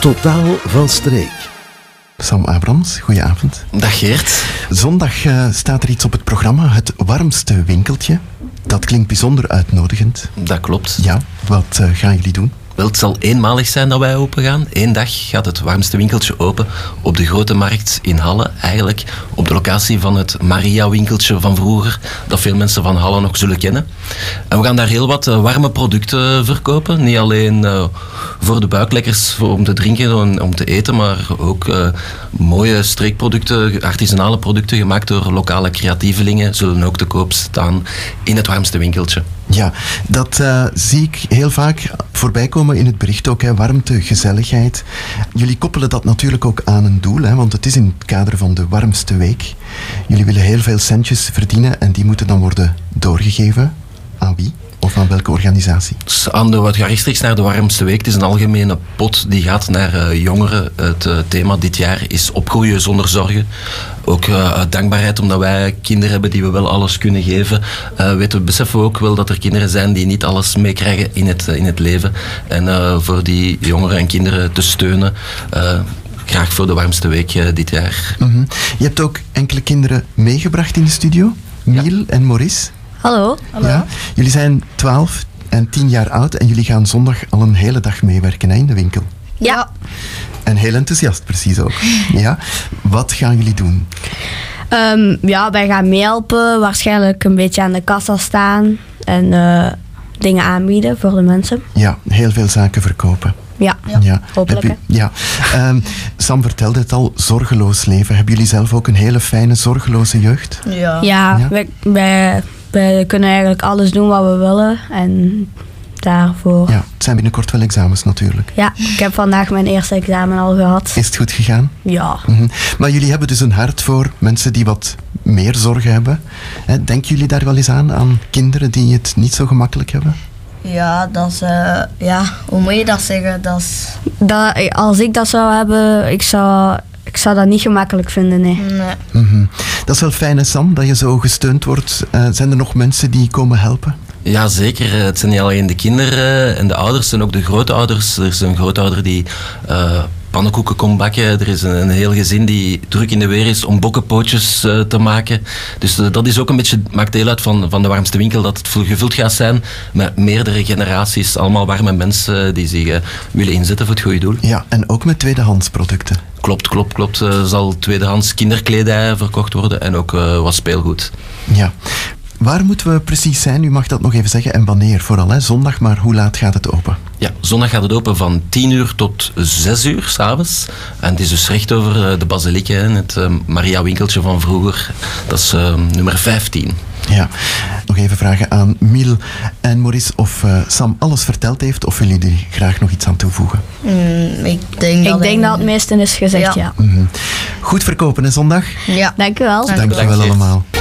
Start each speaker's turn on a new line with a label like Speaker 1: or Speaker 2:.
Speaker 1: Totaal van streek.
Speaker 2: Sam Abrams, goedenavond.
Speaker 3: Dag Geert.
Speaker 2: Zondag eh, staat er iets op het programma, het warmste winkeltje. Dat klinkt bijzonder uitnodigend.
Speaker 3: Dat klopt.
Speaker 2: Ja, wat eh, gaan jullie doen?
Speaker 3: Wel, het zal eenmalig zijn dat wij open gaan. Eén dag gaat het warmste winkeltje open op de Grote Markt in Halle. Eigenlijk op de locatie van het Maria-winkeltje van vroeger, dat veel mensen van Halle nog zullen kennen. En we gaan daar heel wat eh, warme producten verkopen. Niet alleen eh, voor de buik, lekkers voor- om te drinken en om te eten, maar ook eh, mooie streekproducten, artisanale producten gemaakt door lokale creatievelingen, zullen ook te koop staan in het warmste winkeltje.
Speaker 2: Ja, dat eh, zie ik heel vaak voorbij komen in het bericht ook. Hè. Warmte, gezelligheid. Jullie koppelen dat natuurlijk ook aan een doel, hè, want het is in het kader van de warmste week. Jullie willen heel veel centjes verdienen en die moeten dan worden doorgegeven aan wie of aan welke organisatie?
Speaker 3: Dus aan de wat gerichtstreeks naar de warmste week. Het is een algemene pot die gaat naar eh, jongeren. Het eh, thema dit jaar is opgroeien zonder zorgen. Ook eh, uit dankbaarheid omdat wij kinderen hebben die we wel alles kunnen geven. eh, weten, we- beseffen we ook wel dat er kinderen zijn die niet alles meekrijgen in het, eh, in het leven. En eh, voor die jongeren en kinderen te steunen. eh, graag voor de warmste week eh, dit jaar.
Speaker 2: Mhm. Je hebt ook enkele kinderen meegebracht in de studio. Miel en Maurice.
Speaker 4: Hallo.
Speaker 2: Ja. Jullie zijn 12 en 10 jaar oud en jullie gaan zondag al een hele dag meewerken hè, in de winkel.
Speaker 4: Ja.
Speaker 2: En heel enthousiast, precies ook. Ja. Wat gaan jullie doen?
Speaker 4: Ehm, ja, wij gaan meehelpen. Waarschijnlijk een beetje aan de kassa staan. En eh, dingen aanbieden voor de mensen.
Speaker 2: Ja, heel veel zaken verkopen.
Speaker 4: Ja. Hopelijk,
Speaker 2: Heb u- ja. Ehm, Sam vertelde het al, zorgeloos leven. Hebben jullie zelf ook een hele fijne, zorgeloze jeugd?
Speaker 5: Ja.
Speaker 4: Ja,
Speaker 2: Ja.
Speaker 4: Wij, wij, wij kunnen eigenlijk alles doen wat we willen. En daarvoor...
Speaker 2: Ja, het zijn binnenkort wel examens natuurlijk.
Speaker 4: Ja, ik heb vandaag mijn eerste examen al gehad.
Speaker 2: Is het goed gegaan?
Speaker 4: Ja.
Speaker 2: Mhm. Maar jullie hebben dus een hart voor mensen die wat meer zorgen hebben. Hè, Denken jullie daar wel eens aan, aan kinderen die het niet zo gemakkelijk hebben?
Speaker 5: Ja, dat is... eh, ja, hoe moet je dat zeggen? Dat is...
Speaker 4: Dat, als ik dat zou hebben, ik zou, ik zou dat niet gemakkelijk vinden, nee.
Speaker 5: Nee.
Speaker 2: Mhm. Dat is wel fijn, hè, Sam, dat je zo gesteund wordt. Eh, zijn er nog mensen die komen helpen?
Speaker 3: Ja, zeker. Eh, Het zijn niet alleen de kinderen eh, en de ouders, en ook de grootouders. Er is een grootouder die eh, pannenkoeken komt bakken. Er is een, een heel gezin die druk in de weer is om bokkenpootjes eh, te maken. Dus eh, dat is ook een beetje, maakt deel uit van, van de warmste winkel, dat het gevuld gaat zijn met meerdere generaties, allemaal warme mensen die zich eh, willen inzetten voor het goede doel.
Speaker 2: Ja, en ook met tweedehands producten.
Speaker 3: Klopt, klopt, klopt. Er zal tweedehands kinderkledij verkocht worden en ook eh, wat speelgoed.
Speaker 2: Ja. Waar moeten we precies zijn? U mag dat nog even zeggen. En wanneer vooral, hè? zondag, maar hoe laat gaat het open?
Speaker 3: Ja, zondag gaat het open van 10 uur tot 6 uur s'avonds. En het is dus recht over eh, de basiliek, hè, het eh, Maria-winkeltje van vroeger. Dat is eh, nummer 15.
Speaker 2: Ja. Nog even vragen aan Miel en Maurice of eh, Sam alles verteld heeft of jullie er graag nog iets aan toevoegen.
Speaker 5: Mm, ik denk dat...
Speaker 4: Ik denk dat het meeste is gezegd, ja.
Speaker 2: Mhm. Goed verkopen, hè, zondag?
Speaker 5: Ja.
Speaker 4: Dank u wel.
Speaker 5: Dank u.
Speaker 2: Dankjewel
Speaker 3: Bedankt, Geert.
Speaker 2: allemaal.